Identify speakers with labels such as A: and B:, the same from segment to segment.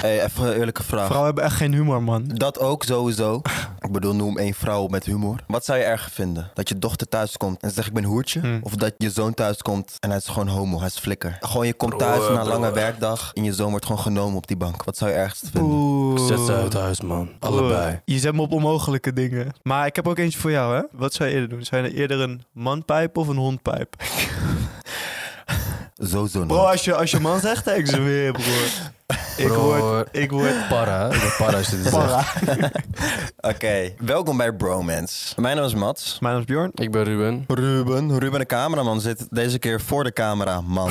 A: Hey, even een eerlijke vraag.
B: Vrouwen hebben echt geen humor, man.
A: Dat ook sowieso. Ik bedoel, noem één vrouw met humor. Wat zou je erger vinden? Dat je dochter thuis komt en ze zegt ik ben hoertje?
B: Hmm.
A: Of dat je zoon thuis komt en hij is gewoon homo, hij is flikker? Gewoon je komt thuis na een lange werkdag en je zoon wordt gewoon genomen op die bank. Wat zou je ergst vinden?
B: Oeh.
C: Zet ze uit huis, man. Allebei.
B: Je zet me op onmogelijke dingen. Maar ik heb ook eentje voor jou, hè? Wat zou je eerder doen? Zou je eerder een manpijp of een hondpijp?
A: Zo zo'n
B: Bro, als je, als je man zegt, ik zweer, broer. Ik
C: Broer.
B: word... Ik word...
C: Para. hè? Ik ben para als je dit zegt.
A: Oké, welkom bij Bromance. Mijn naam is Mats.
B: Mijn naam is Bjorn.
C: Ik ben Ruben.
A: Ruben, Ruben de cameraman zit deze keer voor de camera, man.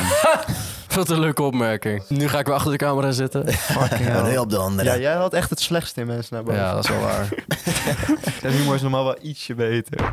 C: Wat een leuke opmerking. Nu ga ik weer achter de camera zitten.
A: En heel op de andere.
B: Ja, jij had echt het slechtste in mensen naar boven.
C: Ja, dat is wel waar.
B: Zijn humor is normaal wel ietsje beter.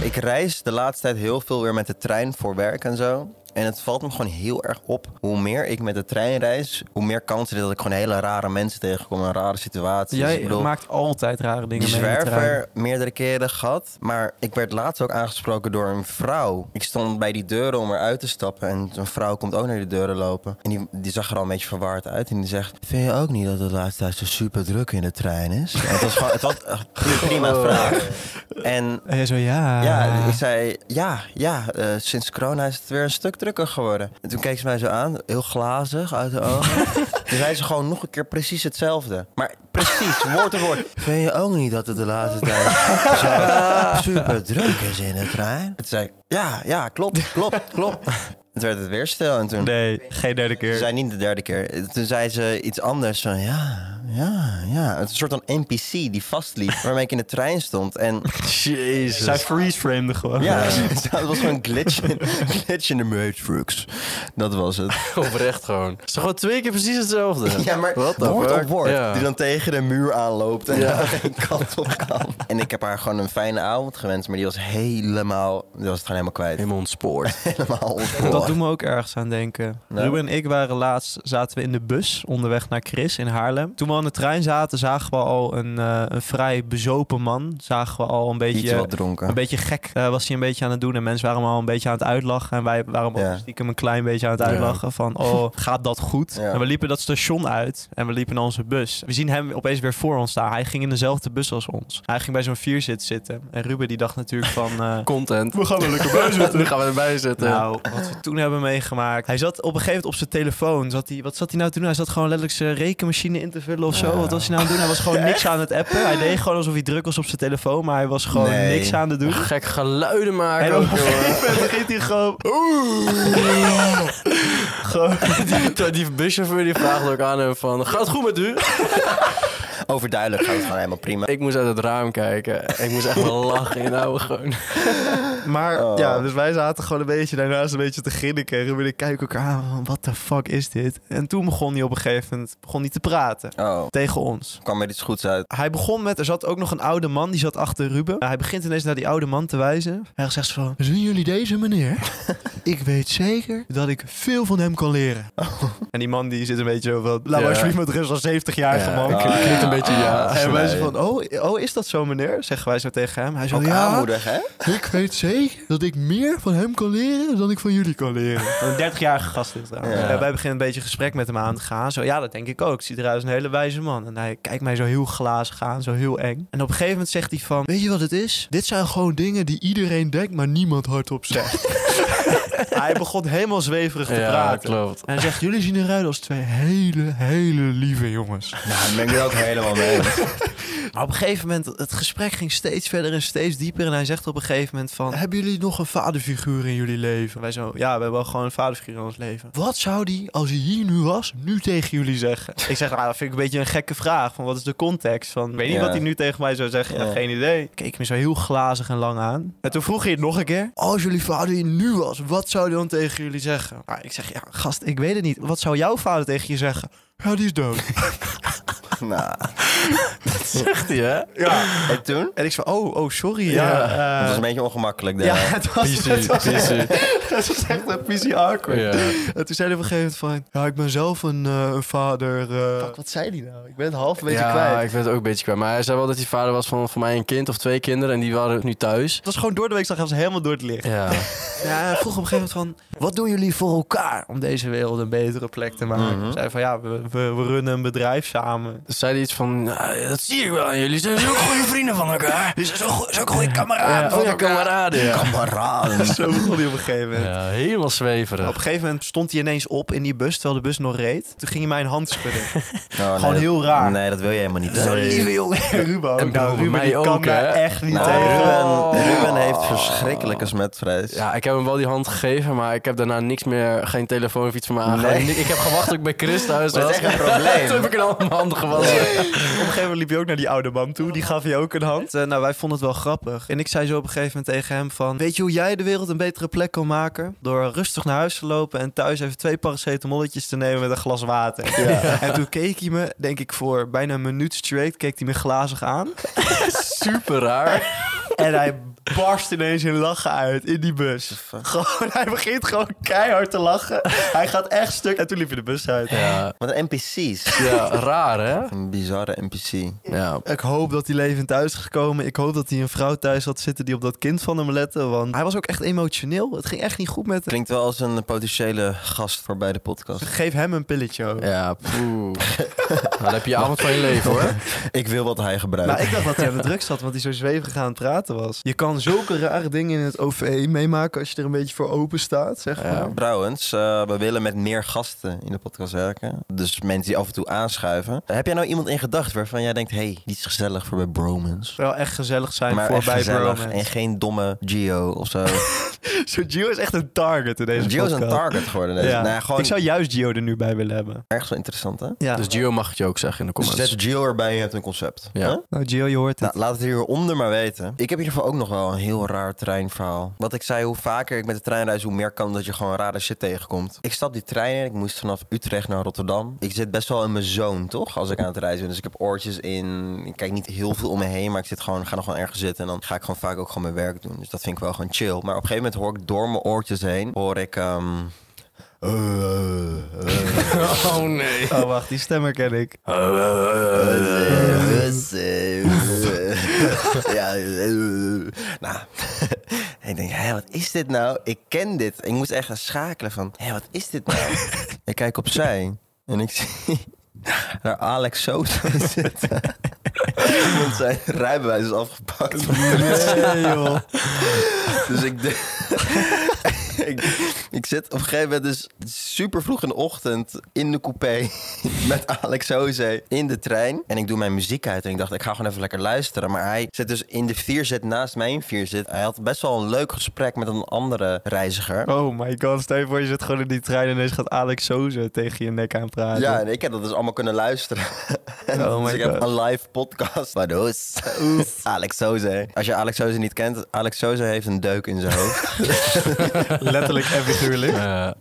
A: Ik reis de laatste tijd heel veel weer met de trein voor werk en zo. En het valt me gewoon heel erg op. Hoe meer ik met de trein reis, hoe meer kans er is dat ik gewoon hele rare mensen tegenkom. en rare
C: Dus
A: situaties. ik
D: Jij
A: bedoel,
D: maakt altijd rare dingen
A: die
D: mee. in de trein.
A: zwerver meerdere keren gehad. Maar ik werd laatst ook aangesproken door een vrouw. Ik stond bij die deuren om eruit te stappen. En een vrouw komt ook naar die deuren lopen. En die, die zag er al een beetje verwaard uit. En die zegt: Vind je ook niet dat het de laatste tijd zo super druk in de trein is? En het was gewoon het was een
D: Oh.
A: prima vraag. En
D: En jij zo, ja.
A: ja, ik zei, ja, ja, eh, sinds corona is het weer een stuk drukker geworden. En toen keek ze mij zo aan, heel glazig uit de ogen. toen zei ze gewoon nog een keer precies hetzelfde. Maar precies, woord voor woord. Vind je ook niet dat het de laatste tijd zo super druk is in de trein? Toen zei ik, ja, ja, klopt, klopt, klopt. En toen werd het weer stil en toen...
B: Nee, geen derde
A: Ze
B: keer.
A: zei niet de derde keer. Toen zei ze iets anders van ja, ja, ja. Het is een soort van NPC die vastliep, waarmee ik in de trein stond. En
B: Zij
C: Jezus.
B: freeze-framed gewoon.
A: Oh, ja, dat was gewoon een glitch in, glitch in de matrix. Dat was het. eh.
C: Oprecht gewoon. Het is gewoon twee keer precies hetzelfde.
A: Ja, maar
C: What the
A: woord
C: fuck?
A: op woord.
C: Ja.
A: Die dan tegen de muur aanloopt en geen kant op kan. En ik heb haar gewoon een fijne avond gewenst, maar die was helemaal... Die was het gewoon helemaal kwijt.
C: Helemaal ontspoord.
A: Helemaal ontvoerd.
D: Dat doet me ook ergens aan denken.
A: Nou.
D: Ruben en ik waren laatst, zaten we in de bus onderweg naar Chris in Haarlem. Toen we aan de trein zaten, zagen we al een, eh, een vrij bezopen man. Zagen we al een
A: Iets
D: beetje,
A: wat dronken.
D: een beetje gek eh, was hij een beetje aan het doen. En mensen waren hem al een beetje aan het uitlachen. En wij waren hem
A: Ja.
D: ook stiekem een klein beetje aan het
C: Ja.
D: uitlachen. Van, oh, gaat dat goed?
A: Ja.
D: En we liepen dat station uit en we liepen naar onze bus. We zien hem opeens weer voor ons staan. Hij ging in dezelfde bus als ons. Hij ging bij zo'n vierzit zitten. En Ruben die dacht natuurlijk van... eh,
C: Content.
B: We gaan wel lekker bij zitten.
C: Nu gaan we erbij zitten.
D: nou, wat we toen hebben meegemaakt. Hij zat op een gegeven moment op zijn telefoon. Zat hij, wat zat hij nou te doen? Hij zat gewoon letterlijk zijn rekenmachine in te vullen of zo. Wat was hij nou aan het doen? Hij was gewoon niks aan het appen. Hij deed gewoon alsof hij druk was op zijn telefoon, maar hij was gewoon
A: Nee.
D: niks aan het doen.
C: Gek geluiden maken.
D: En op
C: ook,
D: een
C: jongen.
D: gegeven moment begint hij gewoon... gewoon
C: Die, die buschauffeur die vraagt ook aan hem van... Gaat het goed met u?
A: Overduidelijk gaat het gewoon helemaal prima.
C: Ik moest uit het raam kijken. Ik moest echt wel lachen in ouwe gewoon.
D: Maar
A: Oh.
D: ja, dus wij zaten gewoon een beetje daarnaast een beetje te grinniken. En we kijken elkaar aan van, what the fuck is dit? En toen begon hij op een gegeven moment begon hij te praten
A: Oh,
D: tegen ons.
A: kwam er iets goeds uit.
D: Hij begon met, er zat ook nog een oude man, die zat achter Ruben. Hij begint ineens naar die oude man te wijzen. Hij zegt van, zien jullie deze meneer? ik weet zeker dat ik veel van hem kan leren. En die man die zit een beetje zo van, laat
C: Ja.
D: me alsjeblieft met rust als 70-jarige man.
C: ik
A: Ah,
C: knik
A: ja.
C: een beetje ja.
A: Ah.
D: En wij
A: Nee.
D: zo van, oh, oh, is dat zo meneer? Zeggen wij zo tegen hem. Hij zo,
A: Ook
D: Oh, ja,
A: aanmoedig, hè?
D: ik weet zeker dat ik meer van hem kan leren dan ik van jullie kan leren. Een 30-jarige gast is trouwens.
A: Ja.
D: Ja. wij beginnen een beetje gesprek met hem aan te gaan. Zo, ja, dat denk ik ook. Het ziet eruit als een hele wijze man. En hij kijkt mij zo heel glazig aan, zo heel eng. En op een gegeven moment zegt hij van... Weet je wat het is? Dit zijn gewoon dingen die iedereen denkt, maar niemand hardop zegt. hij begon helemaal zweverig te
C: Ja,
D: praten.
C: klopt.
D: En hij zegt, jullie zien eruit als twee hele, hele lieve jongens.
A: Nou, ik ben ik er ook helemaal mee.
D: Maar op een gegeven moment, het gesprek ging steeds verder en steeds dieper. En hij zegt op een gegeven moment van... Hebben jullie nog een vaderfiguur in jullie leven? Wij zo, ja, we hebben wel gewoon een vaderfiguur in ons leven. Wat zou die, als hij hier nu was, nu tegen jullie zeggen? ik zeg, nou, dat vind ik een beetje een gekke vraag. Van, wat is de context? Van, ik weet niet
A: Ja.
D: wat hij nu tegen mij zou zeggen.
A: Ja.
D: Geen idee. Keek me zo heel glazig en lang aan. En toen vroeg hij het nog een keer. Als jullie vader hier nu was, wat zou hij dan tegen jullie zeggen? Nou, ik zeg, ja, gast, ik weet het niet. Wat zou jouw vader tegen je zeggen? Ja, die is dood.
A: Nou,
C: Zegt hij, hè?
A: en toen?
D: En ik zei, oh, oh, sorry.
C: Ja.
D: Ja,
A: Het
D: eh,
A: was een beetje ongemakkelijk,
D: ja,
A: daar.
D: het was, het was,
C: PC.
D: het was echt een PC awkward. En toen zei hij op een gegeven moment van... Ja, ik ben zelf een, eh, een vader... eh." Fuck, wat zei hij nou? Ik ben het half een beetje
C: ja,
D: kwijt.
C: ik ben het ook een beetje kwijt. Maar hij zei wel dat hij vader was van voor mij een kind of twee kinderen. En die waren nu thuis.
D: Het was gewoon door de week, zag hij was helemaal door het licht.
C: Ja.
D: Ja, hij vroeg op een gegeven moment van... Wat doen jullie voor elkaar om deze wereld een betere plek te maken?
A: Mhm.
D: Zei van ja, we, we, we runnen een bedrijf samen.
C: Dus Zei hij iets van, "Nou, dat zie ik wel aan jullie. Zijn ook goede vrienden van elkaar.
D: Dus dat is ook goede
C: Ja,
D: kameraden.
C: oh ja, kameraden, ja.
A: Kameraden.
D: Zo begon hij op een gegeven moment.
C: Ja, helemaal
D: Op
C: zweverig.
D: een gegeven moment stond hij ineens op in die bus, terwijl de bus nog reed. Toen ging hij mijn hand schudden.
A: Oh, nee,
D: Gewoon
A: dat-
D: heel raar.
A: Nee, dat wil je helemaal niet.
D: Zo
A: Nee.
D: lieve jongen. Ruben ook.
C: En
D: nou,
C: broer,
D: Ruben
C: mij
D: die kan
C: ook,
D: daar
C: hè?
D: echt niet
A: Nou,
D: tegen.
A: Ruben,
C: Oh.
A: Ruben heeft verschrikkelijke smetvrees.
C: Ja, ik heb hem wel die hand gegeven, maar ik heb daarna niks meer, geen telefoon of iets van me aangehouden.
A: Nee.
C: Ik heb gewacht tot ik bij Chris thuis
A: Dat is
C: was.
A: echt een probleem.
C: Toen heb ik een hand handen gewassen.
D: Op een gegeven moment liep je ook naar die oude man toe. Die gaf je ook een hand. Eh, nou, wij vonden het wel grappig. En ik zei zo op een gegeven moment tegen hem van... Weet je hoe jij de wereld een betere plek kan maken? Door rustig naar huis te lopen en thuis even twee paracetamolletjes te nemen met een glas water. En toen keek hij me, denk ik voor bijna een minuut straight, keek hij me glazig aan.
C: Super raar.
D: En hij barst ineens in lachen uit in die bus. Gewoon, hij begint gewoon keihard te lachen. Hij gaat echt stuk. En toen liep hij de bus uit.
C: Ja,
A: Wat een NPC's.
C: ja raar hè?
A: Een bizarre NPC.
C: Ja.
D: Ik hoop dat hij levend thuis is gekomen. Ik hoop dat hij een vrouw thuis had zitten die op dat kind van hem lette. Want hij was ook echt emotioneel. Het ging echt niet goed met hem.
A: Klinkt wel als een potentiële gast voor bij de podcast.
D: Geef hem een pilletje ook.
C: Ja, poeh. Nou, dan heb je je avond van je leven hoor.
A: Ik wil wat hij gebruikt.
D: Maar Nou, ik dacht dat hij aan de drugs zat, want hij zo zweverig aan het praten was. Je kan zulke rare dingen in het OV meemaken als je er een beetje voor open staat, zeg maar.
C: Ja.
A: Trouwens, eh, we willen met meer gasten in de podcast werken. Dus mensen die af en toe aanschuiven. Heb jij nou iemand in gedachten waarvan jij denkt... hey, die is gezellig voor bij Bromans.
D: Wel echt gezellig zijn
A: Maar echt
D: voorbij
A: gezellig
D: Bromance.
A: en geen domme Gio of zo.
D: Zo, Gio is echt een target in deze
A: Gio is een
D: podcast.
A: target geworden. Deze.
D: dus, Ja.
A: Nou, gewoon
D: Ik zou juist Gio er nu bij willen hebben.
A: erg zo interessant, hè?
D: Ja.
C: Dus Gio mag het je ook zeggen in de
A: Dus
C: comments.
A: zet Gio erbij en je hebt een concept.
C: Ja.
A: Huh?
D: nou, Gio, je hoort het.
A: Nou, laat het hieronder maar weten. Ik heb in ieder geval ook nog wel een heel raar treinverhaal. Wat ik zei, hoe vaker ik met de trein reis, hoe meer kan dat je gewoon rare shit tegenkomt. Ik stap die trein in, ik moest vanaf Utrecht naar Rotterdam. Ik zit best wel in mijn zone, toch? Als ik aan het reizen ben. Dus ik heb oortjes in. Ik kijk niet heel veel om me heen, maar ik zit gewoon, ga nog wel ergens zitten. En dan ga ik gewoon vaak ook gewoon mijn werk doen. Dus dat vind ik wel gewoon chill. Maar op een gegeven moment hoor ik door mijn oortjes heen, hoor ik... ehm, eh, eh, eh.
C: Oh nee.
D: Oh, wacht, die stemmer ken ik.
A: Eh, Ja, eh, nou, ik denk, hé, wat is dit nou? Ik ken dit. Ik moest echt gaan schakelen van, hé, wat is dit nou? Ik kijk opzij en ik zie daar Alex Soto zitten. Want zijn rijbewijs is afgepakt.
D: Nee, joh.
A: Dus ik, de- ik, ik zit op een gegeven moment dus super vroeg in de ochtend in de coupé met Alex Hoze in de trein. En ik doe mijn muziek uit en ik dacht, ik ga gewoon even lekker luisteren. Maar hij zit dus in de vierzit naast mijn vierzit. Hij had best wel een leuk gesprek met een andere reiziger.
D: Oh my god, stel je voor, je zit gewoon in die trein en ineens gaat Alex Soze tegen je nek aan praten.
A: Ja, en ik heb dat dus allemaal kunnen luisteren. En
D: Ah, Oh
A: dus
D: my
A: ik heb
D: God.
A: een live podcast. Maar dus, Alex Soze. Als je Alex Soze niet kent, Alex Soze heeft een deuk in zijn hoofd.
D: letterlijk en figuurlijk.
C: Ja.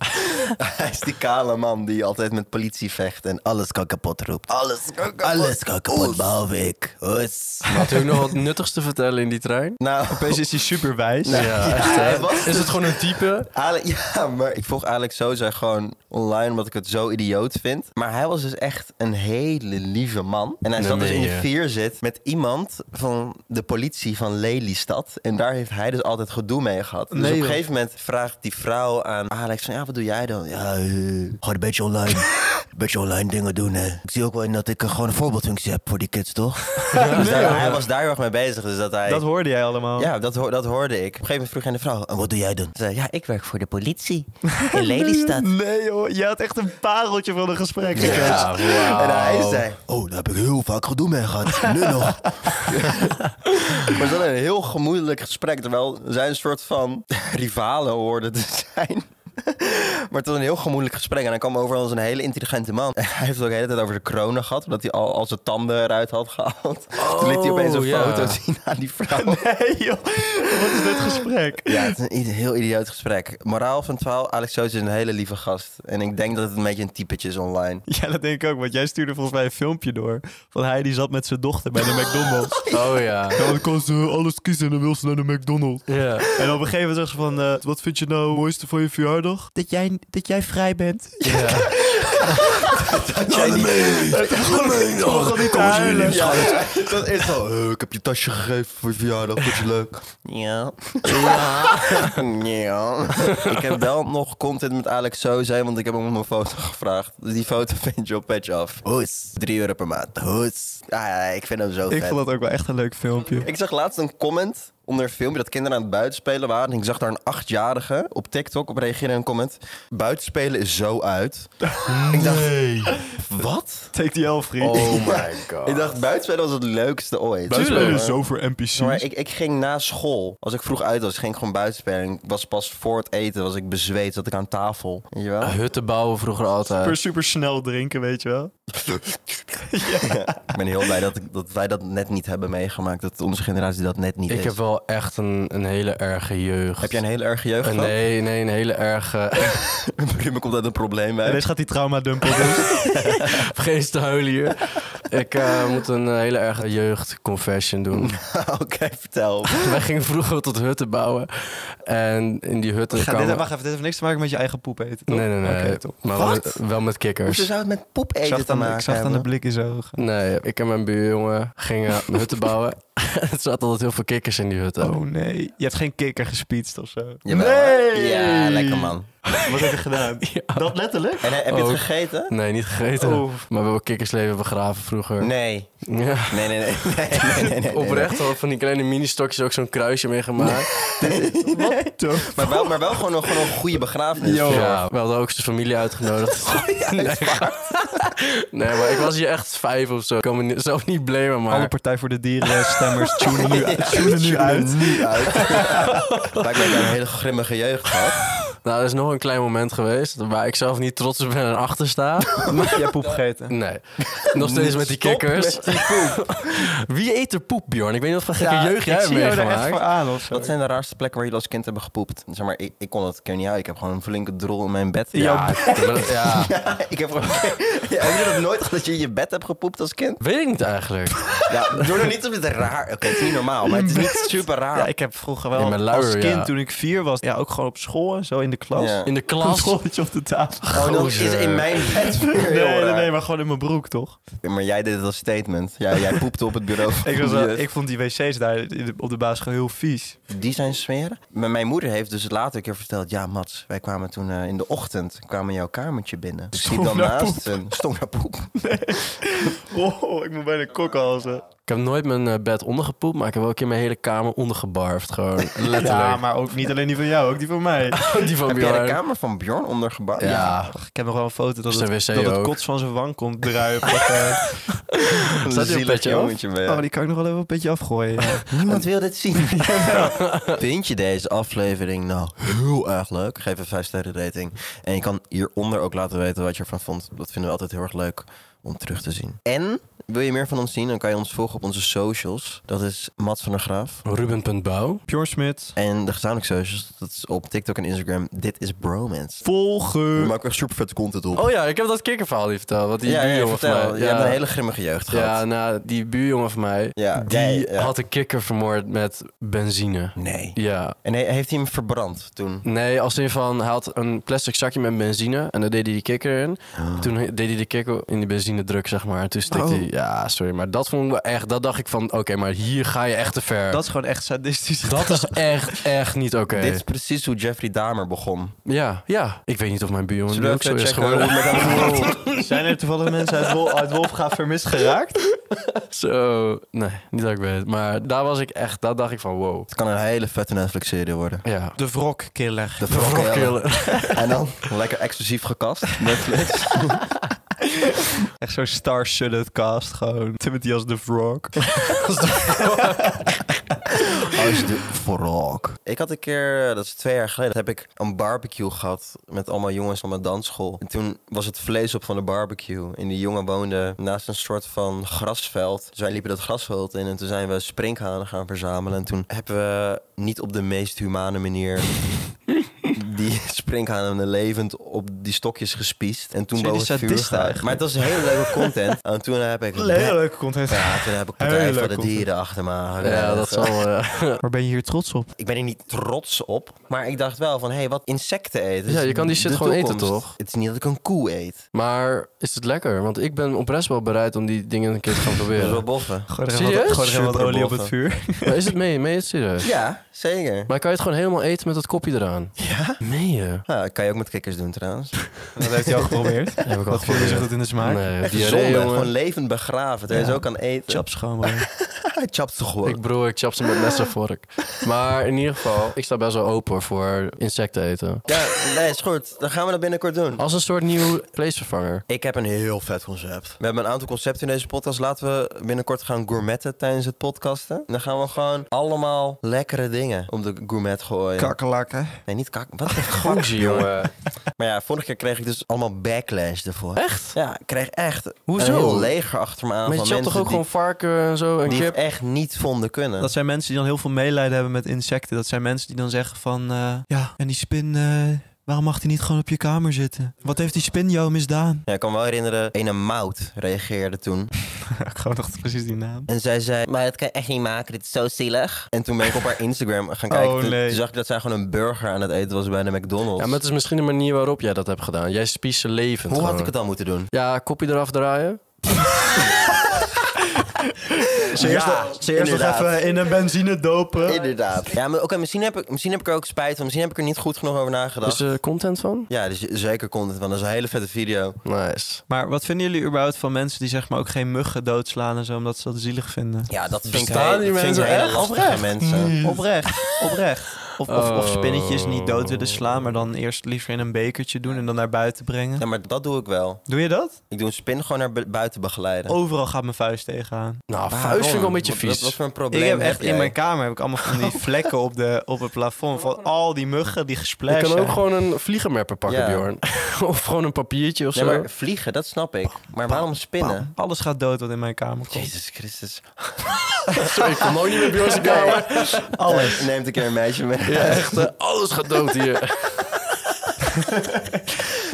A: Hij is die kale man die altijd met politie vecht en alles kan kapot roept. Alles kan kapot. Alles kan kapot, behalve ik. Oes.
C: had hij ook nog wat nuttigs te vertellen in die trein?
A: Nou,
D: Opeens is hij super wijs.
C: Ja, echt hè?
A: hij was-
C: Is het gewoon een type?
A: Ale- ja, maar ik volg Alex Soza gewoon online omdat ik het zo idioot vind. Maar hij was dus echt een hele lieve man. En hij
C: Nee,
A: zat dus in
C: nee,
A: de
C: ja.
A: vierzit met iemand van de politie van Lelystad. En daar heeft hij dus altijd gedoe mee gehad. Dus
D: Nee,
A: op een
D: joh.
A: gegeven moment vraagt die vrouw aan Alex van, ja, wat doe jij dan? Ja, eh, gewoon een beetje online. Een beetje online dingen doen, hè. Ik zie ook wel in dat ik eh, gewoon een voorbeeldfunctie heb voor die kids, toch? Dus daar- hij was daar heel erg mee bezig. Dus dat hij...
D: Dat hoorde jij allemaal.
C: Oh.
A: Ja, dat, ho- dat hoorde ik. Op een gegeven moment vroeg hij aan de vrouw, en wat doe jij dan? Ze zei, ja, ik werk voor de politie in Lelystad.
D: Nee joh, je had echt een pareltje van een gesprek.
C: Ja, wauw.
A: En hij zei, oh, daar heb ik heel vaak gedoe mee gehad. Nu nog. maar ze hadden een heel gemoedelijk gesprek, terwijl zij een soort van rivalen hoorden te zijn. Maar het was een heel gemoedelijk gesprek. En hij kwam over als een hele intelligente man. En hij heeft het ook de hele tijd over de kronen gehad. Omdat hij al, al zijn tanden eruit had gehaald. Toen liet hij opeens een
C: Oh, ja.
A: foto zien aan die vrouw.
D: Nee joh, wat is dit gesprek?
A: Ja, het is een i- heel idioot gesprek. Moraal van 12, Alex Soos is een hele lieve gast. En ik denk dat het een beetje een typetje is online.
D: Ja, dat denk ik ook, want jij stuurde volgens mij een filmpje door. Van hij die zat met zijn dochter bij de McDonald's.
C: Oh ja.
D: Ja, dan kon ze alles kiezen en dan wil ze naar de McDonald's.
C: Ja.
D: En op een gegeven moment zegt ze van, eh, wat vind je nou het mooiste van je verjaardag? Dat jij, dat jij vrij bent.
C: Ja.
A: Kom niet huilen. Ja,
E: Dat is wel, eh, ik heb je tasje gegeven voor je verjaardag, vond je leuk?
A: Ja. Ja. ja. Ik heb wel nog content met Alex Soze, want ik heb hem om een foto gevraagd. Dus die foto vind je op Patch af. Hoes. Drie euro per maand. Hoes. Ah, ja, ik vind hem zo
D: Ik
A: vet.
D: vond dat ook wel echt een leuk filmpje.
A: Ik zag laatst een comment onder een filmpje dat kinderen aan het buitenspelen waren. En ik zag daar een achtjarige op TikTok op reageren in een comment. Buitenspelen is zo uit. Ik dacht, wat?
D: Take the L, vriend.
E: Oh my god.
A: Ik dacht, buitenspelen was het leukste ooit.
D: Buitenspelen is
A: Maar-
D: zo voor NPC's.
A: Maar ik, ik ging na school, als ik vroeg uit was, ging ik gewoon buitenspelen. En ik was pas voor het eten, was ik bezweet, zat ik aan tafel. Weet je wel?
C: Hutten bouwen vroeger
D: Super,
C: altijd.
D: super snel drinken, weet je wel.
A: Ik ben heel blij dat, ik- dat wij dat net niet hebben meegemaakt. Dat onze generatie dat net niet
C: Ik
A: is.
C: heb wel echt een, een hele erge jeugd.
A: Heb jij een hele erge jeugd
C: Eh,
A: gehad?
C: Nee, nee, een hele erge...
A: Ruben komt uit een probleem
D: En
A: bij.
D: deze gaat die trauma dumpen. dus. doen.
C: Vergeet te huilen hier. Ik eh, moet een eh, hele erge jeugdconfession doen.
A: Oké, vertel.
C: Wij gingen vroeger tot hutten bouwen. En in die hutten
D: Ga, dit,
C: kwamen...
D: wacht even, dit heeft niks te maken met je eigen poep eten. toch?
C: Nee, nee, nee.
D: Oké, top.
C: maar wel met, wel met
A: Hoezo
C: kikkers.
A: zou het met pop
D: Ik zag
A: eten
D: het
A: te
D: aan de-
A: maken
D: ik zag het aan de
A: hebben?
D: blik in zijn ogen.
C: Nee, ik en mijn buurjongen gingen hutten bouwen. er zaten altijd heel veel kikkers in die hutten.
D: Oh nee, je hebt geen kikker gespietst of zo.
A: Jawel, hè? Ja, lekker man.
D: Wat heb je gedaan? Dat letterlijk?
A: En eh, heb je
C: Ook.
A: het gegeten?
C: Nee, niet gegeten.
D: Oh.
C: Maar we hebben kikkersleven begraven vroeger.
A: Nee.
C: Ja.
A: Nee, nee, nee. nee, nee, nee, nee, nee.
C: Oprecht hadden van die kleine mini-stokjes ook zo'n kruisje mee gemaakt.
A: Maar wel, maar wel gewoon, een, gewoon een goede begrafenis.
C: Ja, we hadden ook zijn familie uitgenodigd.
A: Oh,
C: nee. nee, maar ik was hier echt vijf of zo. Ik kan me ni- zelf niet blamen,
D: Alle
C: maar...
D: Partij voor de Dieren stemmers tunen nu, tunen nu uit.
A: Nu uit. Lijkt mij een hele grimmige jeugd gehad.
C: Nou, er is nog een klein moment geweest waar ik zelf niet trots op ben en achter sta.
D: Heb jij poep gegeten?
C: Nee, nog steeds met die
A: Stop
C: kikkers.
A: met die poep.
C: Wie eet er poep, Bjorn? Ik weet niet wat voor gekke jeugd jij
D: ik
C: hebt
D: zie jou er echt voor
C: meegemaakt.
D: aan of zo.
A: Wat zijn de raarste plekken waar jullie als kind hebben gepoept? Zeg maar, ik, ik kon dat ik weet niet uit. Ik heb gewoon een flinke drol in mijn bed.
C: Ja, ja,
A: Ja, ik heb gewoon... Ja, heb je dat nooit gehad dat je in je bed hebt gepoept als kind?
C: weet ik niet eigenlijk.
A: Ja, doe er niet op het raar... Oké, het is niet normaal, maar het is niet super raar.
D: Ja, ik heb vroeger wel
C: Ja, met luier,
D: als kind
C: ja.
D: toen ik vier was, ja, ook gewoon op school en zo in de klas.
A: Ja.
C: In de
D: Een
C: klas.
D: schooltje op de tafel.
A: Oh, dat is
C: Gozer.
A: in mijn bed weer heel
D: Nee, nee,
A: raar.
D: nee, maar gewoon in mijn broek toch?
A: Maar jij deed het als statement. Ja, jij poepte op het bureau.
D: Ik, was, wel- ik vond die wc's daar in de- op de basisschool heel vies.
A: Die zijn smeren. Maar mijn moeder heeft dus later een keer verteld... Ja, Mats, wij kwamen toen eh, in de ochtend kwamen in jouw kamertje binnen. Dus ik liep dan
D: Stonk naar
A: naast en stonk naar poep.
D: Oh, ik moet bijna kokhalzen.
C: Ik heb nooit mijn eh, bed ondergepoept, maar ik heb wel een keer mijn hele kamer ondergebarfd. Gewoon letterlijk.
D: Ja, maar ook niet alleen die van jou, ook die van mij.
C: Die van
A: Heb jij de
C: Bjorn.
A: kamer van Bjorn ondergebouwd?
C: Ja,
D: Ik heb nog wel een foto dat, het,
C: Op zijn wc
D: dat het
C: ook.
D: kots van zijn wang komt druipen. Eh,
A: Een
C: Staat die op
A: zielig
C: petje af?
A: jongetje ben je.
D: oh, die kan ik nog wel even een beetje afgooien. ja.
A: Niemand wil dit zien. Vind je deze aflevering nou heel erg leuk? Geef een 5 sterren rating. En je kan hieronder ook laten weten wat je ervan vond. Dat vinden we altijd heel erg leuk om terug te zien. En wil je meer van ons zien? Dan kan je ons volgen op onze socials. Dat is Mats van der Graaf.
C: Ruben.bouw.
D: Bjorn Smit,
A: En de gezamenlijke socials, dat is op TikTok en Instagram. Dit is Bromance.
D: volgen.
A: maken echt super vette content op.
C: Oh ja, ik heb dat kikkerverhaal niet verteld. Wat die
A: ja, ja,
C: buurjongen van
A: vertel.
C: mij.
A: Je hebt een hele grimmige jeugd
C: ja,
A: gehad.
C: nou, die buurjongen van mij,
A: Ja,
C: die
A: jij, ja.
C: had een kikker vermoord met benzine.
A: Nee.
C: Ja.
A: En he- heeft hij hem verbrand toen?
C: Nee, als in van, hij had een plastic zakje met benzine en daar deed hij die kikker in.
A: Ah.
C: Toen he- deed hij de kikker in die benzinedruk, zeg maar. En toen
A: Oh.
C: stikte hij, ja, sorry, maar dat vond ik wel echt, dat dacht ik van, oké, maar hier ga je echt te ver.
D: Dat
C: Dat,
D: is gewoon echt sadistisch.
C: is echt, echt niet oké.
A: Dit is precies hoe Jeffrey Dahmer begon.
C: Ja, ja. Ik weet niet of mijn buurjongen nu ook zo is
A: checken hoe
C: geworden.
A: het met hem
D: Zijn er toevallig mensen uit, Wol uit Wolfgaaf vermist geraakt?
C: Zo, nee, niet dat ik weet. Maar daar was ik echt, daar dacht ik van, wow.
A: Het kan een hele vette Netflix-serie worden.
C: Ja.
D: De wrokkiller.
A: De
C: Rockkiller.
A: En dan lekker exclusief gekast. Netflix.
D: Echt zo'n star-studded cast gewoon. Timothy als de Vrock.
A: Als de frog. Ik had een keer, eh, dat is twee jaar geleden, heb ik een barbecue gehad met allemaal jongens van mijn dansschool. En toen was het vlees op van de barbecue. En die jongen woonde naast een soort van grasveld. Dus wij liepen dat grasveld in en toen zijn we sprinkhanen gaan verzamelen. En toen hebben we niet op de meest humane manier die sprinkhanen levend op die stokjes gespiest. En toen
F: Zijn
A: boven
F: die
A: het vuur
F: sadisten
A: gehaald. Maar het was hele leuke content. En toen heb ik...
D: Hele leuke content.
A: Ja, toen heb ik
D: Hele
A: Partij voor
D: leuke
A: de
D: content.
A: Dieren achter me aangehangen.
C: Ja, dat zal... eh,
D: Maar ben je hier trots op?
A: Ik ben er niet trots op, maar ik dacht wel van... Hé, hey, wat insecten eten.
C: Ja,
A: is
C: je kan die shit
A: de
C: gewoon eten,
A: toekomst.
C: toch?
A: Het is niet dat ik een koe eet.
C: maar is het lekker? Want ik ben oprecht wel bereid om die dingen een keer te gaan
A: Dat is wel
C: proberen.
A: boffen.
D: Gooi er
C: Serieus?
D: wat, gooi er wat
A: Super
D: olie op het
A: boffen.
D: vuur.
C: Maar is het mee? Mee is het serieus?
A: Ja, zeker.
C: Maar kan je het gewoon helemaal eten met dat kopje eraan?
A: Ja?
C: Meen je?
A: Ja, Ah, dat kan je ook met kikkers doen trouwens.
D: Dat heeft hij al geprobeerd.
C: Heb ik al
D: Wat voelde zich
C: geprobeerd.
D: dat in de smaak?
C: Nee,
A: Echt
C: diarree,
A: zonde. Gewoon
C: jongen.
A: levend begraven. Daar is
D: Ja.
A: ook aan eten.
D: Chaps gewoon, man.
A: Hij chapt toch gewoon.
C: Ik broer, ik chap ze met mes en vork. Maar in ieder geval, ik sta best wel open voor insecten eten.
A: Ja, nee, is goed. Dan gaan we dat binnenkort doen.
C: Als een soort nieuw vleesvervanger.
A: Ik heb een heel vet concept. We hebben een aantal concepten in deze podcast. Laten we binnenkort gaan gourmetten tijdens het podcasten. Dan gaan we gewoon allemaal lekkere dingen op de gourmet gooien.
D: Kakkelakken.
A: Nee, niet kak. Wat een
C: Goeie, jongen.
A: Maar ja, vorige keer kreeg ik dus allemaal backlash ervoor.
C: Echt?
A: Ja, ik kreeg echt
C: Hoezo?
A: een heel leger achter me aan
C: Maar je
A: van
C: chapt
A: mensen
C: toch ook
A: die,
C: gewoon varken en zo en
A: die
C: kip?
A: het echt niet vonden kunnen.
D: Dat zijn mensen die dan heel veel medelijden hebben met insecten. Dat zijn mensen die dan zeggen van... eh, ja, en die spin... eh, waarom mag die niet gewoon op je kamer zitten? Wat heeft die spin jou misdaan?
A: Ja, ik kan me wel herinneren, ene Mout reageerde toen.
D: gewoon nog precies die naam.
A: En zij zei, maar dat kan je echt niet maken, dit is zo zielig. En toen ben ik op haar Instagram gaan kijken.
D: Oh,
A: Toen-
D: nee.
A: Toen zag ik dat zij gewoon een burger aan het eten was bij de McDonald's.
C: Ja, maar het is misschien de manier waarop jij dat hebt gedaan. Jij spies ze levend
A: Hoe had
C: gewoon.
A: ik het dan moeten doen?
C: Ja, kopje eraf draaien.
A: Ze eerst nog- ze eerst nog
D: even in een benzine dopen.
A: Inderdaad. Ja, maar oké, misschien, heb ik, misschien heb ik er ook spijt van. Misschien heb ik er niet goed genoeg over nagedacht.
C: Is er content van?
A: Ja, dus zeker content van. Dat is een hele vette video.
C: Nice.
D: Maar wat vinden jullie überhaupt van mensen die zeg maar ook geen muggen doodslaan en zo... omdat ze dat zielig vinden?
A: Ja, dat vind ik
C: Bestaan
A: heel-
C: die
A: dat vind ik
C: mensen
A: hele
C: echt?
A: lastige
D: Oprecht?
A: mensen.
D: Oprecht, oprecht. Of, of, of
C: Oh.
D: spinnetjes niet dood willen slaan, maar dan eerst liever in een bekertje doen en dan naar buiten brengen.
A: Ja, maar dat doe ik wel.
D: Doe je dat?
A: Ik doe een spin gewoon naar bu- buiten begeleiden.
D: Overal gaat mijn vuist tegenaan.
C: Nou,
A: Waarom?
C: vuist vind ik wel een beetje
A: Wat- Wat, wat
C: vies.
A: voor een
D: Ik
A: probleem
D: heb echt
A: jij?
D: in mijn kamer heb ik allemaal van die vlekken op, de, op het plafond van al die muggen die
C: Je
D: gesplashen.
C: kan ook gewoon een vliegenmepper pakken,
A: Ja.
C: Bjorn. of gewoon een papiertje of
A: Nee,
C: zo.
A: maar vliegen, dat snap ik. Maar waarom spinnen?
D: Bam, alles gaat dood wat in mijn kamer komt.
A: Jezus Christus.
C: Sorry, ik kom ook niet meer Bjorn zijn kamer.
A: Alles. Eh, Neemt een keer een meisje mee.
C: Ja, echt, eh, alles gaat dood hier.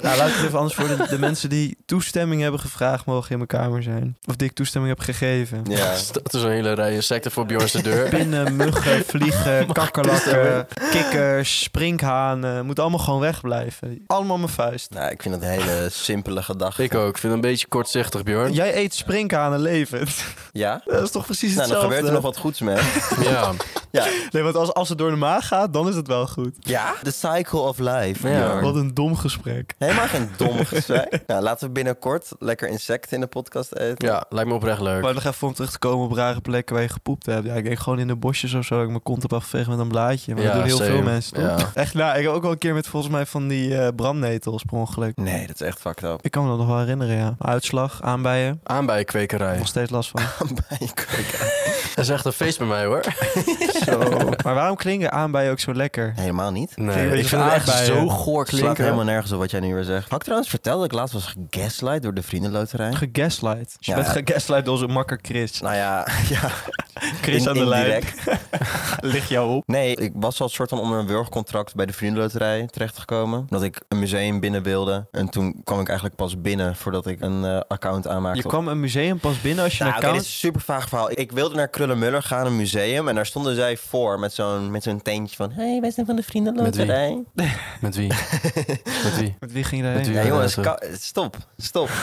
D: Nou, laat ik het even anders voor. De, de mensen die toestemming hebben gevraagd mogen in mijn kamer zijn. Of die ik toestemming heb gegeven.
A: Ja.
C: Dat is een hele rij insecten voor Bjorn's deur.
D: Pinnen, muggen, vliegen, kakkerlakken, kikkers, sprinkhanen. Moet allemaal gewoon wegblijven. Allemaal mijn vuist.
A: Nou, ik vind dat een hele simpele gedachte.
C: Ik ook. Ik vind het een beetje kortzichtig, Bjorn.
D: Jij eet sprinkhanen levend.
A: Ja?
D: Dat is toch precies
A: Nou, dan
D: hetzelfde?
A: gebeurt er nog wat goeds mee.
C: Ja.
D: Nee, want als, als het door de maag gaat, dan is het wel goed.
A: Ja? The cycle of life.
C: Ja.
A: Bjorn.
D: Wat een dom gesprek.
A: Helemaal geen dom gesprek. nou, laten we binnenkort lekker insecten in de podcast eten.
C: ja, lijkt me oprecht leuk.
D: Maar nog even om terug te komen op rare plekken waar je gepoept hebt. Ja, ik denk gewoon in de bosjes of zo. dat Ik mijn kont heb afgeveegd met een blaadje. Maar
C: Ja,
D: dat doen heel
C: same.
D: veel mensen, toch?
C: Ja.
D: Echt, nou, ik heb ook wel een keer met volgens mij van die eh, brandnetels per ongeluk.
A: Nee, dat is echt fucked up.
D: Ik kan me dat nog wel herinneren, ja. Uitslag, aanbijen.
C: Aanbijenkwekerij.
D: Nog steeds last van.
C: Dat is echt een feest bij mij, hoor.
D: maar waarom klinken aanbijen ook zo lekker?
A: Helemaal niet.
D: Klinkt een
C: Nee, ik
D: beetje
C: vind
D: van
C: het echt
D: aardbeien.
C: zo goor
A: Slaat helemaal
C: klinken.
A: nergens op wat jij nu weer zegt. Had ik trouwens verteld dat ik laatst was gegaslight door de vriendenloterij?
D: Gegaslight. Je
A: Ja.
D: bent gegaslight door onze makker Chris.
A: nou ja, ja.
D: Chris
A: in-
D: aan de lijn.
A: indirect.
D: Ligt jou op.
A: Nee, ik was al soort van onder een wurgcontract bij de vriendenloterij terechtgekomen. Omdat ik een museum binnen wilde. En toen kwam ik eigenlijk pas binnen voordat ik een eh, account aanmaakte.
D: Je kwam een museum pas binnen als je
A: Nou,
D: een
A: oké,
D: account...
A: dit is een super vaag verhaal. Ik wilde naar Krullenmuller gaan, een museum. En daar stonden zij voor met zo'n, met zo'n teentje van... Hé, hey, wij zijn van de vriendenloterij.
C: Met wie? Met wie?
D: Met wie ging je
C: Met
D: daarheen?
A: Ja,
C: Ja,
A: jongens,
C: dat-
A: ka- stop, stop.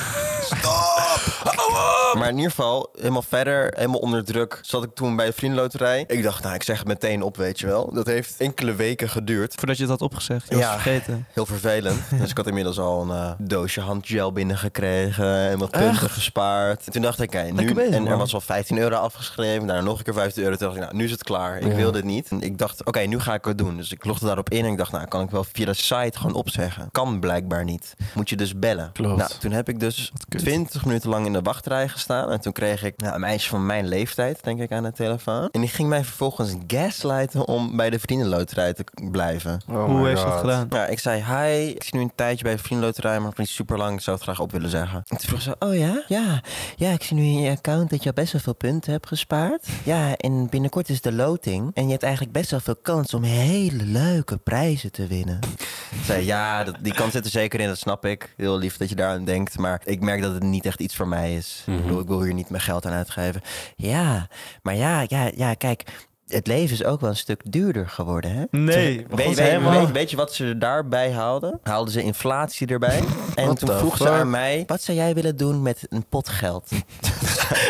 A: Stop! Maar in ieder geval, helemaal verder, helemaal onder druk... zat ik toen bij de vriendenloterij. Ik dacht, nou, ik zeg het meteen op, weet je wel. Dat heeft enkele weken geduurd.
D: Voordat je het had opgezegd. Je was
A: Ja.
D: het vergeten.
A: Heel vervelend. dus ik had inmiddels al een eh, doosje handgel binnengekregen en wat punten gespaard. En toen dacht ik, hé, nu,
D: Lekker bezig,
A: en er
D: man.
A: was al 15 euro afgeschreven, daarna nog een keer 15 euro. Toen dacht ik, nou, nu is het klaar. Ik
C: Ja.
A: wil dit niet. En ik dacht, oké, nu ga ik het doen. Dus ik logde daarop in en ik dacht, nou, kan ik wel via de site gewoon opzeggen. Kan blijkbaar niet. Moet je dus bellen.
C: Klopt.
A: Nou, toen heb ik dus 20 minuten lang in de wachtrij gestaan. En toen kreeg ik nou, een meisje van mijn leeftijd, denk ik, aan de telefoon. En die ging mij vervolgens gaslighten om bij de vriendenloterij te k- blijven.
C: Oh
D: Hoe heeft ze dat gedaan?
A: Nou, ik zei, hi, ik zit nu een tijdje bij de vriendenloterij, maar nog niet super lang. Ik zou het graag op willen zeggen. En toen vroeg ze, oh ja? Ja, ja ik zie nu in je account dat je al best wel veel punten hebt gespaard. Ja, en binnenkort is de loting. En je hebt eigenlijk best wel veel kans om hele leuke prijzen te winnen. Ik zei, ja, dat, die kans zit er zeker in, dat snap ik. Heel lief dat je daar aan denkt, maar ik merk dat het niet echt iets voor mij is. Ik bedoel, ik wil hier niet mijn geld aan uitgeven. Ja, maar ja, ja, ja, kijk... Het leven is ook wel een stuk duurder geworden, hè?
D: Nee,
A: Toen-
D: we
A: weet,
D: gaan ze
A: weet-
D: helemaal-
A: weet- weet je wat ze daarbij haalden? Haalden ze inflatie erbij. en
C: What
A: toen
C: the
A: vroeg ze
C: fuck?
A: aan mij... wat zou jij willen doen met een pot geld?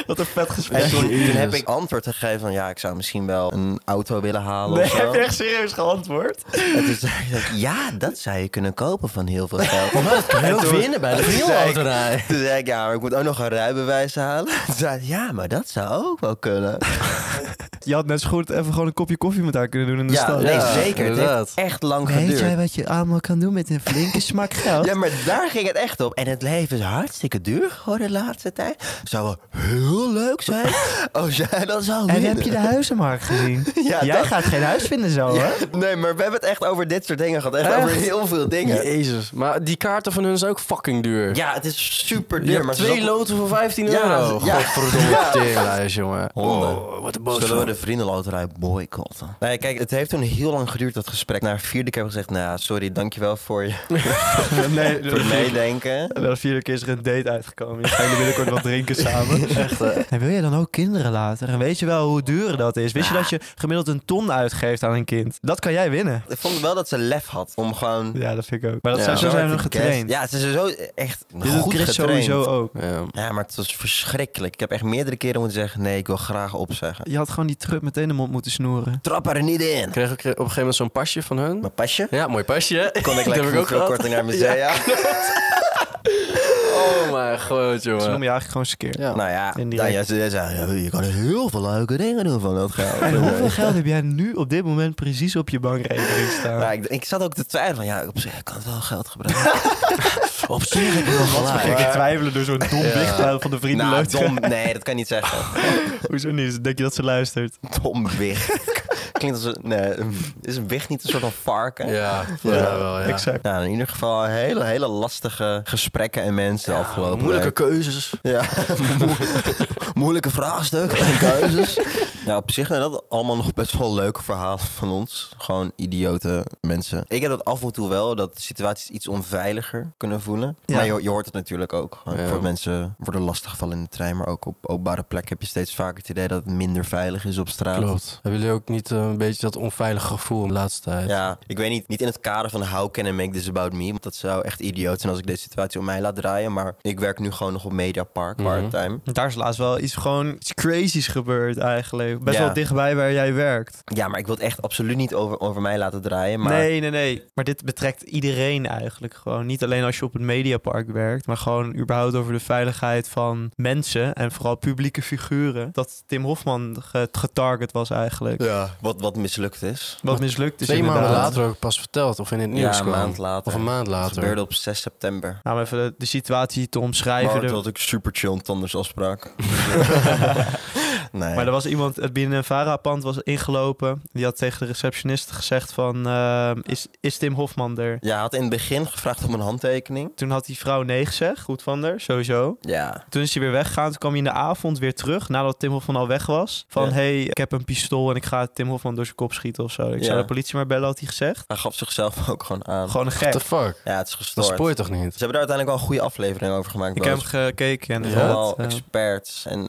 D: Wat een vet gesprek.
A: En toen, toen
C: Jezus.
A: heb ik antwoord gegeven van... ja, ik zou misschien wel een auto willen halen of zo.
D: echt serieus geantwoord?
A: En toen zei ik, ja, dat zou je kunnen kopen van heel veel geld. En toen-
C: winnen bij de
A: toen zei ik-
C: vriendenloterij.
A: Toen zei ik, ja, maar ik moet ook nog een rijbewijs halen. Toen zei ik, ja, maar dat zou ook wel kunnen.
D: Je had net zo goed even gewoon een kopje koffie met haar kunnen doen in de
A: Ja,
D: stad.
A: nee,
C: Ja,
A: zeker. Het
C: inderdaad.
A: heeft echt lang geduurd.
D: wat je allemaal kan doen met een flinke smak geld?
A: Ja, maar daar ging het echt op. En het leven is hartstikke duur geworden de laatste tijd. Zou wel heel leuk zijn als jij dat zou winnen.
D: huizenmarkt gezien?
A: Ja, dat-
D: geen huis vinden zo,
A: Ja, nee, maar we hebben het echt over dit soort dingen gehad. Echt,
C: Echt?
A: over heel veel dingen.
C: Jezus, maar die kaarten van hun is ook fucking duur.
A: Ja, het is super
C: Je
A: duur.
C: hebt
A: Maar
C: twee loten voor 15
A: Ja,
C: euro.
A: ja.
C: Godverdomme,
A: Ja.
C: teringlijst, jongen.
A: Honden.
C: Oh, wat
A: Zullen
C: een
A: we
C: boodschap.
A: de vriendenloterij boycotten? Nee, kijk, het heeft toen heel lang geduurd, dat gesprek. Na een vierde keer heb ik gezegd, nou ja, sorry, dankjewel voor je
D: nee,
A: voor het meedenken.
D: En dan vierde keer is er een date uitgekomen. Je gaat binnenkort wat drinken samen. Echt,
A: eh.
D: En wil jij dan ook kinderen later? En weet je wel hoe duur dat is? Wist je dat je gemiddeld een ton uitgeeft aan een kind? Dat kan jij winnen.
A: Ik vond wel dat ze lef had om gewoon...
D: Ja, dat vind ik ook. Maar dat
C: Ja.
D: zou zo
A: hard
D: zijn
A: te
D: nog getraind.
A: guessen. Ja, ze zijn zo echt
D: Dit doet
A: goed
D: Chris
A: getraind.
D: sowieso ook.
C: Ja.
A: Ja, maar het was verschrikkelijk. Ik heb echt meerdere keren moeten zeggen... nee, ik wil graag opzeggen.
D: Je had gewoon die trup meteen de mond moeten snoeren.
A: Trap er niet in!
C: Ik kreeg ook op een gegeven moment zo'n pasje van hun.
A: Mijn pasje?
C: Ja, mooi pasje. hè?
A: Kon ik
C: Dat
A: lekker
C: heb ik ook
A: ook
C: gehad.
A: korting naar musea?
C: Oh mijn god,
D: Ze noemen
C: jongen.
D: je eigenlijk gewoon skeer.
C: Ja.
A: Nou ja,
D: Indirect.
A: nou ja ze ze zei, ja, je kan heel veel leuke dingen doen van dat geld.
D: En hoeveel geld heb jij nu op dit moment precies op je bankrekening staan?
A: Maar Nou, ik, ik zat ook te twijfelen van, ja, op zich kan het wel geld gebruiken. op zich heb ik wel
D: Ik
A: gelijk.
D: twijfelen door zo'n dom
A: Ja.
D: wichtbuil van de vrienden
A: Nou,
D: loopt.
A: dom, nee, dat kan je niet zeggen.
D: Hoezo niet? Denk je dat ze luistert?
A: Dom wicht. Klinkt als een, nee, is een wicht niet een soort van varken?
C: Ja, ja, wel, ja.
D: Exact.
A: Nou, in ieder geval hele, hele lastige gesprekken en mensen de afgelopen
C: Moeilijke
A: week.
C: keuzes.
A: Ja, mo- moeilijke vraagstukken en keuzes. Nou, op zich zijn dat allemaal nog best wel leuke verhalen van ons. Gewoon idiote mensen. Ik heb dat af en toe wel, dat situaties iets onveiliger kunnen voelen.
D: Ja.
A: Maar je, je hoort het natuurlijk ook. Gewoon
C: Ja.
A: Voor mensen worden lastiggevallen in de trein. Maar ook op openbare plekken heb je steeds vaker het idee dat het minder veilig is op straat.
C: Klopt. Hebben jullie ook niet eh, een beetje dat onveilige gevoel de laatste tijd?
A: Ja, ik weet niet, niet in het kader van how can I make this about me. Want dat zou echt idioot zijn als ik deze situatie om mij laat draaien. Maar ik werk nu gewoon nog op Mediapark
C: Mhm.
A: part-time.
D: Daar is laatst wel iets gewoon iets crazies gebeurd eigenlijk. Best
A: Ja.
D: wel dichtbij waar jij werkt.
A: Ja, maar ik wil het echt absoluut niet over, over mij laten draaien. Maar
D: Nee, nee, nee. Maar dit betrekt iedereen eigenlijk gewoon. Niet alleen als je op het mediapark werkt, maar gewoon überhaupt over de veiligheid van mensen en vooral publieke figuren. Dat Tim Hofman ge- getarget was eigenlijk.
A: Ja, wat, wat mislukt is.
D: Wat mislukt is
C: Twee maanden
D: inderdaad.
C: later ook pas verteld of in het nieuws
A: ja, een
C: kwam.
A: maand later.
C: Of een maand
A: Het
C: later.
A: gebeurde op 6 september.
D: Nou, om even de, de situatie te omschrijven.
A: Maar
D: Er-
A: toen had ik super chill een tandartsafspraak. nee.
D: Maar er was iemand, het binnen een VARA-pand was ingelopen. Die had tegen de receptionist gezegd van, ehm, is, is Tim Hofman er?
A: Ja, hij had in het begin gevraagd om een handtekening.
D: Toen had die vrouw nee gezegd, goed van haar, sowieso.
A: Ja.
D: Toen is hij weer weggegaan, toen kwam hij in de avond weer terug, nadat Tim Hofman al weg was. Van,
A: Ja.
D: hey, ik heb een pistool en ik ga Tim Hofman door zijn kop schieten of zo. Ik
A: Ja.
D: zou de politie maar bellen, had hij gezegd.
A: Hij gaf zichzelf ook gewoon aan.
D: Gewoon een
C: What the
D: gek.
C: fuck?
A: Ja, het is
C: Dat
A: gestoord.
C: spoor je toch niet?
A: Ze hebben daar uiteindelijk wel een goede aflevering over gemaakt.
D: Ik heb
A: Boos.
D: hem gekeken en
A: Vooral
D: inderdaad, eh,
A: experts en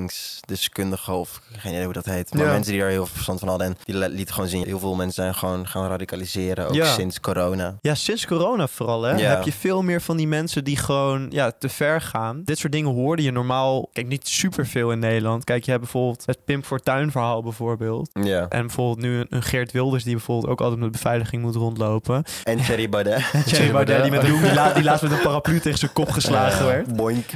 A: radicaliseringsdeskundigen of geen idee hoe dat heet. Maar
D: Ja.
A: mensen die daar heel veel verstand van hadden en die li- lieten gewoon zien. Heel veel mensen zijn gewoon gaan radicaliseren, ook
D: Ja.
A: sinds corona.
D: Ja, sinds corona vooral, hè,
A: Ja.
D: heb je veel meer van die mensen die gewoon ja, te ver gaan. Dit soort dingen hoorde je normaal, kijk, niet superveel in Nederland. Kijk, je hebt bijvoorbeeld het Pim Fortuyn verhaal bijvoorbeeld.
A: Ja.
D: En bijvoorbeeld nu een, een Geert Wilders die bijvoorbeeld ook altijd met beveiliging moet rondlopen.
A: En Thierry Baudet.
D: En Thierry Baudet die, met een, die, la- die laatst met een paraplu tegen zijn kop geslagen werd.
A: Boink.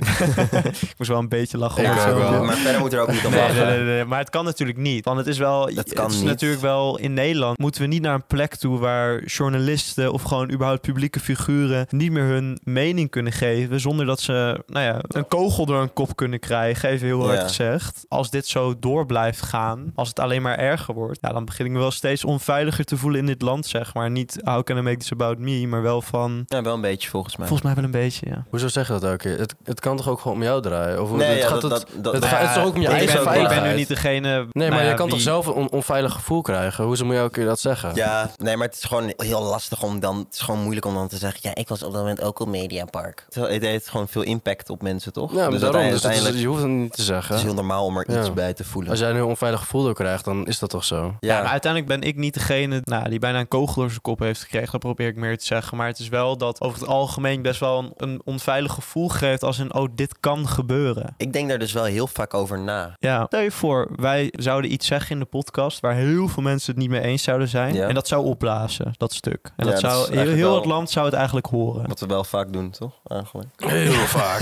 D: Ik moest wel een beetje lachen.
C: Ik
D: om
A: Ja,
D: dat
C: ook
D: filmpje.
C: wel.
A: maar verder moet er er ook niet op
D: Nee,
A: lachen.
D: nee, nee, nee, maar het kan natuurlijk niet. Want het is wel.
A: Dat kan
D: het is
A: niet.
D: natuurlijk wel in Nederland. Moeten we niet naar een plek toe waar journalisten of gewoon überhaupt publieke figuren niet meer hun mening kunnen geven. Zonder dat ze, nou ja, een kogel door een kop kunnen krijgen. Even heel hard
A: Ja.
D: gezegd. Als dit zo door blijft gaan, als het alleen maar erger wordt, ja, dan begin ik me wel steeds onveiliger te voelen in dit land, zeg maar. Niet how can I make this about me, maar wel van.
A: Ja, wel een beetje volgens mij.
D: Volgens mij wel een beetje, ja.
C: Hoezo zeg je dat elke keer? Het, het kan toch ook gewoon om jou draaien? Of hoe-
A: Nee,
C: het
A: ja,
C: gaat
A: dat- Nou
C: het-
A: dat- dat-
C: het
A: Nou
C: gaat-
A: ja,
C: het is toch ook om je
A: ik
C: eigen
A: ben- ik ben
D: ik
C: veiligheid?
D: ben nu niet degene. nou
C: Nee, maar
D: je
C: je kan toch zelf een on- onveilig gevoel krijgen? Hoezo moet je elke keer dat zeggen?
A: Ja, nee, maar het is gewoon heel lastig om dan... Het is gewoon moeilijk om dan te zeggen... Ja, ik was op dat moment ook op Mediapark. Terwijl Het heeft gewoon veel impact op mensen, toch?
C: Ja,
A: Dus
C: daarom. Dus dat is-
A: uiteindelijk
C: je hoeft het niet te
A: het is
C: zeggen.
A: heel normaal om er iets
C: Ja.
A: bij te voelen.
C: Als jij een heel onveilig gevoel door krijgt, dan is dat toch zo?
D: Ja, maar uiteindelijk ben ik niet degene nou, die bijna een kogel door zijn kop heeft gekregen. Dat probeer ik meer te zeggen. Maar het is wel dat over het algemeen best wel een, een onveilig gevoel geeft als een, oh, dit kan gebeuren.
A: Ik denk daar dus wel heel vaak over na.
D: Ja, stel je voor, wij zouden iets zeggen in de podcast waar heel veel mensen het niet mee eens zouden zijn.
A: Ja.
D: En dat zou opblazen, dat stuk. En
A: Ja,
D: dat
A: dat is
D: zou, heel,
A: eigenlijk
D: heel
A: wel-
D: het land zou het eigenlijk horen.
A: Wat we wel vaak doen, toch? Eigenlijk.
C: Heel vaak.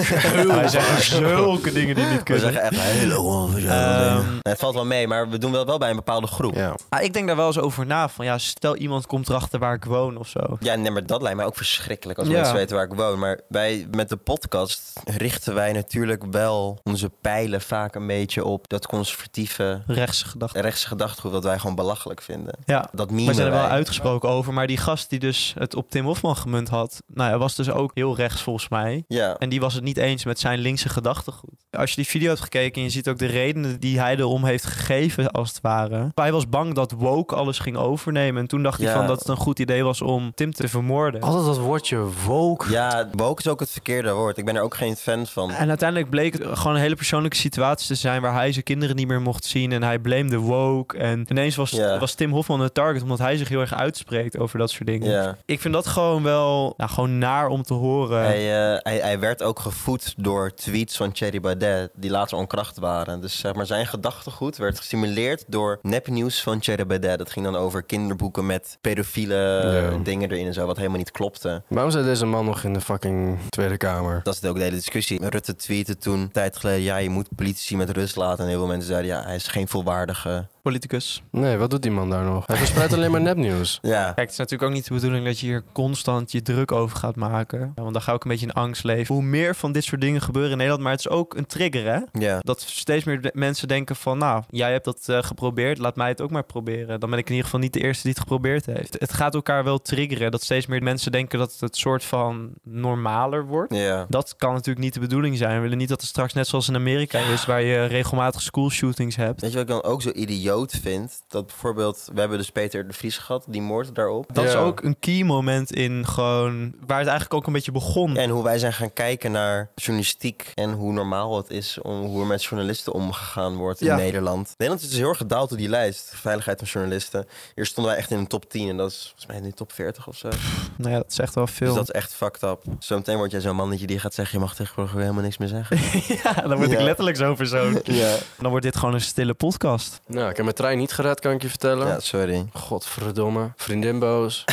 D: Wij zeggen zulke dingen die niet
A: We
D: kunnen.
A: zeggen echt... Hello,
D: Ehm,
A: het valt wel mee, maar we doen wel, wel bij een bepaalde groep. Ja.
C: Eh, Ja.
D: ah, ik denk daar wel eens over na. Van ja, stel iemand komt erachter waar ik woon of zo.
A: nee, maar dat lijkt mij ook verschrikkelijk als
D: Ja.
A: mensen weten waar ik woon. Maar wij met de podcast richten wij natuurlijk wel onze pijlen vaak een beetje op dat conservatieve
D: Rechtse gedachte.
A: rechtse gedachtegoed wat wij gewoon belachelijk vinden.
D: Ja,
A: Dat meme
D: Maar ze zijn er wel uitgesproken over. Maar die gast die dus het op Tim Hofman gemunt had, nou ja, was dus ook heel rechts volgens mij.
A: Ja.
D: En die was het niet eens met zijn linkse gedachtegoed. Als je die video hebt gekeken en je ziet ook de redenen die hij erom heeft gegeven, als het ware. Hij was bang dat woke alles ging overnemen. En toen dacht hij
A: Ja.
D: van dat het een goed idee was om Tim te vermoorden.
C: Altijd dat woordje woke.
A: ja, woke is ook het verkeerde woord. Ik ben er ook geen fan van.
D: En uiteindelijk bleek het gewoon een hele persoonlijke situatie te zijn waar hij zijn kinderen niet meer mocht zien en hij blamede woke. En ineens was,
A: Ja.
D: was Tim Hofman het target omdat hij zich heel erg uitspreekt over dat soort dingen.
A: Ja.
D: Ik vind dat gewoon wel nou, gewoon naar om te horen.
A: Hij, eh, hij, hij werd ook gevoed door tweets van Thierry Baudet, die later onkracht waren. Dus zeg maar, zijn gedachtegoed werd gestimuleerd door nepnieuws van Thierry Baudet. Dat ging dan over kinderboeken met pedofiele eh,
C: Ja.
A: dingen erin en zo, wat helemaal niet klopte.
C: Waarom zit deze man nog in de fucking Tweede Kamer?
A: Dat is ook de hele discussie. Rutte tweette toen, een tijd geleden, ja, je moet politici met rust laten. En heel veel mensen zeiden, ja, hij is geen volwaardige...
D: Politicus.
C: Nee, wat doet die man daar nog? Hij verspreidt alleen maar nepnieuws.
A: Ja,
D: Kijk, het is natuurlijk ook niet de bedoeling dat je hier constant je druk over gaat maken. Ja, Want dan ga ik een beetje in angst leven. Hoe meer van dit soort dingen gebeuren in Nederland, maar het is ook een trigger, hè?
A: ja.
D: Dat steeds meer de- mensen denken van, nou, jij hebt dat eh, geprobeerd, laat mij het ook maar proberen. Dan ben ik in ieder geval niet de eerste die het geprobeerd heeft. Het gaat elkaar wel triggeren, dat steeds meer mensen denken dat het soort van normaler wordt.
A: Ja.
D: Dat kan natuurlijk niet de bedoeling zijn. We willen niet dat het straks net zoals in Amerika is, waar je regelmatig schoolshootings hebt.
A: Weet je wat ik dan ook zo idioot vind? Dat bijvoorbeeld, we hebben dus Peter de Vries gehad, die moord daarop.
D: Dat is
C: Ja.
D: ook een key moment in gewoon waar het eigenlijk ook een beetje begon.
A: En hoe wij zijn gaan kijken naar journalistiek en hoe normaal het is om hoe er met journalisten omgegaan wordt in
D: Ja.
A: Nederland. Nederland is dus heel erg gedaald op die lijst, veiligheid van journalisten. Hier stonden wij echt in de top 10 en dat is volgens mij nu top 40 of zo.
D: Nou ja, dat is echt wel veel.
A: Dus dat is echt fucked up. Zometeen word jij zo'n mannetje die gaat zeggen, je mag tegenwoordig weer helemaal niks meer zeggen.
D: ja, dan word ik
A: Ja.
D: letterlijk zo'n persoon.
A: ja.
D: Dan wordt dit gewoon een stille podcast.
C: Nou, ik heb mijn trein niet gered, kan ik je vertellen.
A: ja, sorry.
C: Godverdomme. Vriendin boos.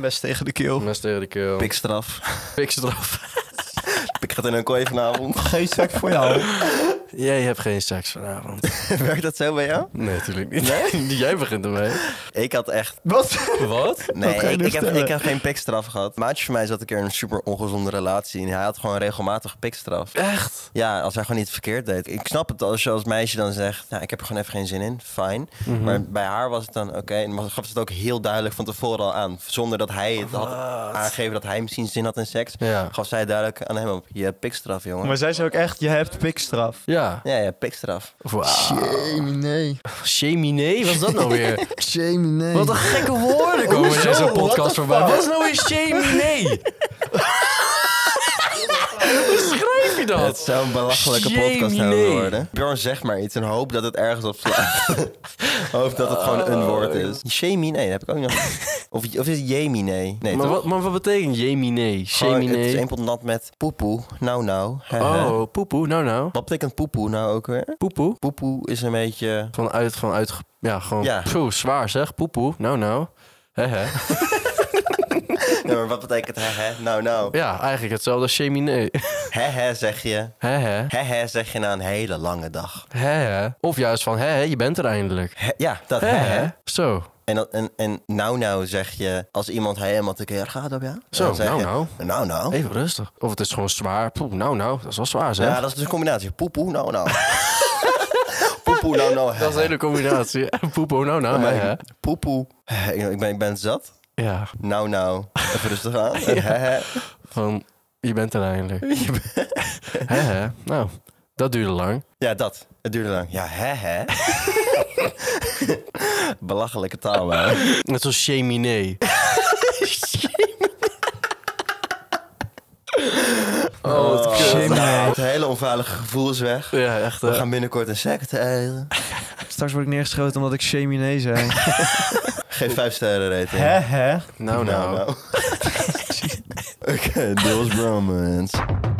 D: Best tegen de keel.
C: Mes tegen de keel.
A: Pikstraf.
C: Piks eraf.
A: Pik gaat in een kooi vanavond.
D: Geen seks voor jou.
C: Jij hebt geen seks vanavond.
A: Werkt dat zo bij jou?
C: Nee, natuurlijk niet. Jij begint ermee.
A: Ik had echt...
D: Wat?
C: Wat?
A: Nee,
D: Wat ga je
A: ik,
D: nu
A: ik, heb,
D: vertellen?
A: ik heb geen pikstraf gehad. Maatje van mij zat een keer in een super ongezonde relatie... en hij had gewoon regelmatig pikstraf.
C: Echt?
A: Ja, als hij gewoon niet verkeerd deed. Ik snap het als je als meisje dan zegt, nou, ik heb er gewoon even geen zin in, fijn.
D: Mhm.
A: Maar bij haar was het dan oké. En dan gaf ze het ook heel duidelijk van tevoren al aan. Zonder dat hij het had aangegeven dat hij misschien zin had in seks.
C: Ja.
A: Gaf zij duidelijk aan hem op, je hebt pikstraf, jongen.
D: Maar zij zei ook echt, je hebt pikstraf.
C: Ja.
A: Ja, ja, pikstraf.
C: Wauw.
F: nee.
C: Cheminee? Wat is dat nou weer?
F: Jamie, nee.
C: Wat een gekke woorden komen in deze podcast voorbij. Wat is nou weer cheminee? Hoe schrijf je
A: Het
C: dat?
A: zou een belachelijke
C: Jemine.
A: podcast hebben worden. Bjorn zegt maar iets en hoop dat het ergens op slaat. hoop dat het gewoon
C: Oh.
A: een woord is. Jemine, dat heb ik ook nog. of, of is het Jemine? Nee,
C: Maar
A: toch?
C: wat, maar wat betekent jeminee?
A: Gewoon, Het is
C: Cheminee?
A: een pot nat met poepoe, nou nou. hè, hè.
C: Oh, poepoe. Nou nou.
A: Wat betekent poepoe nou ook weer?
C: Poepoe.
A: Poepoe is een beetje...
C: Vanuit, vanuit, ja, gewoon
A: Ja.
C: zo zwaar zeg. Poepoe. Nou, nou. Hè, hè.
A: Ja, maar wat betekent hè, hè? Nou, nou.
C: Ja, eigenlijk hetzelfde als cheminee.
A: Hè, hè, zeg je.
C: Hè hè.
A: Hè, hè, zeg je na een hele lange dag.
C: Hè hè. Of juist van hè hè, je bent er eindelijk.
A: Hè, ja, dat
C: Hè
A: hè, hè.
C: hè. Zo.
A: En, dat- en, en nou, nou zeg je als iemand helemaal tekeer gaat op jou.
C: Zo,
A: dan zeg
C: nou,
A: je,
C: nou.
A: Nou, nou.
C: Even rustig. Of het is gewoon zwaar. Poeh, nou nou, dat is wel zwaar zeg.
A: Ja, dat is dus een combinatie. Poepoe, nou, nou. Poepoe, nou, nou. hè,
C: Dat is een hele combinatie. Poepo, nou nou. Hè, hè.
A: hè. Poepoe. Hè, Ik ben, ik ben zat.
C: Ja,
A: Nou, nou. Even rustig aan. En hè, hè.
C: van je bent er eindelijk. Hè hè. Nou, dat duurde lang.
A: Ja, dat. Het duurde lang. Ja, hè, hè. Belachelijke taal, man.
C: Net zoals cheminee. oh, wat kut.
A: nou, Het hele onveilige gevoel is weg.
C: Ja, echt.
A: We
C: hè.
A: gaan binnenkort een sect eten.
D: Straks word ik neergeschoten omdat ik cheminee zei.
A: Geen vijf sterren rating.
D: hè, hè?
C: Nou, nou.
A: Oké, Deels Bromance.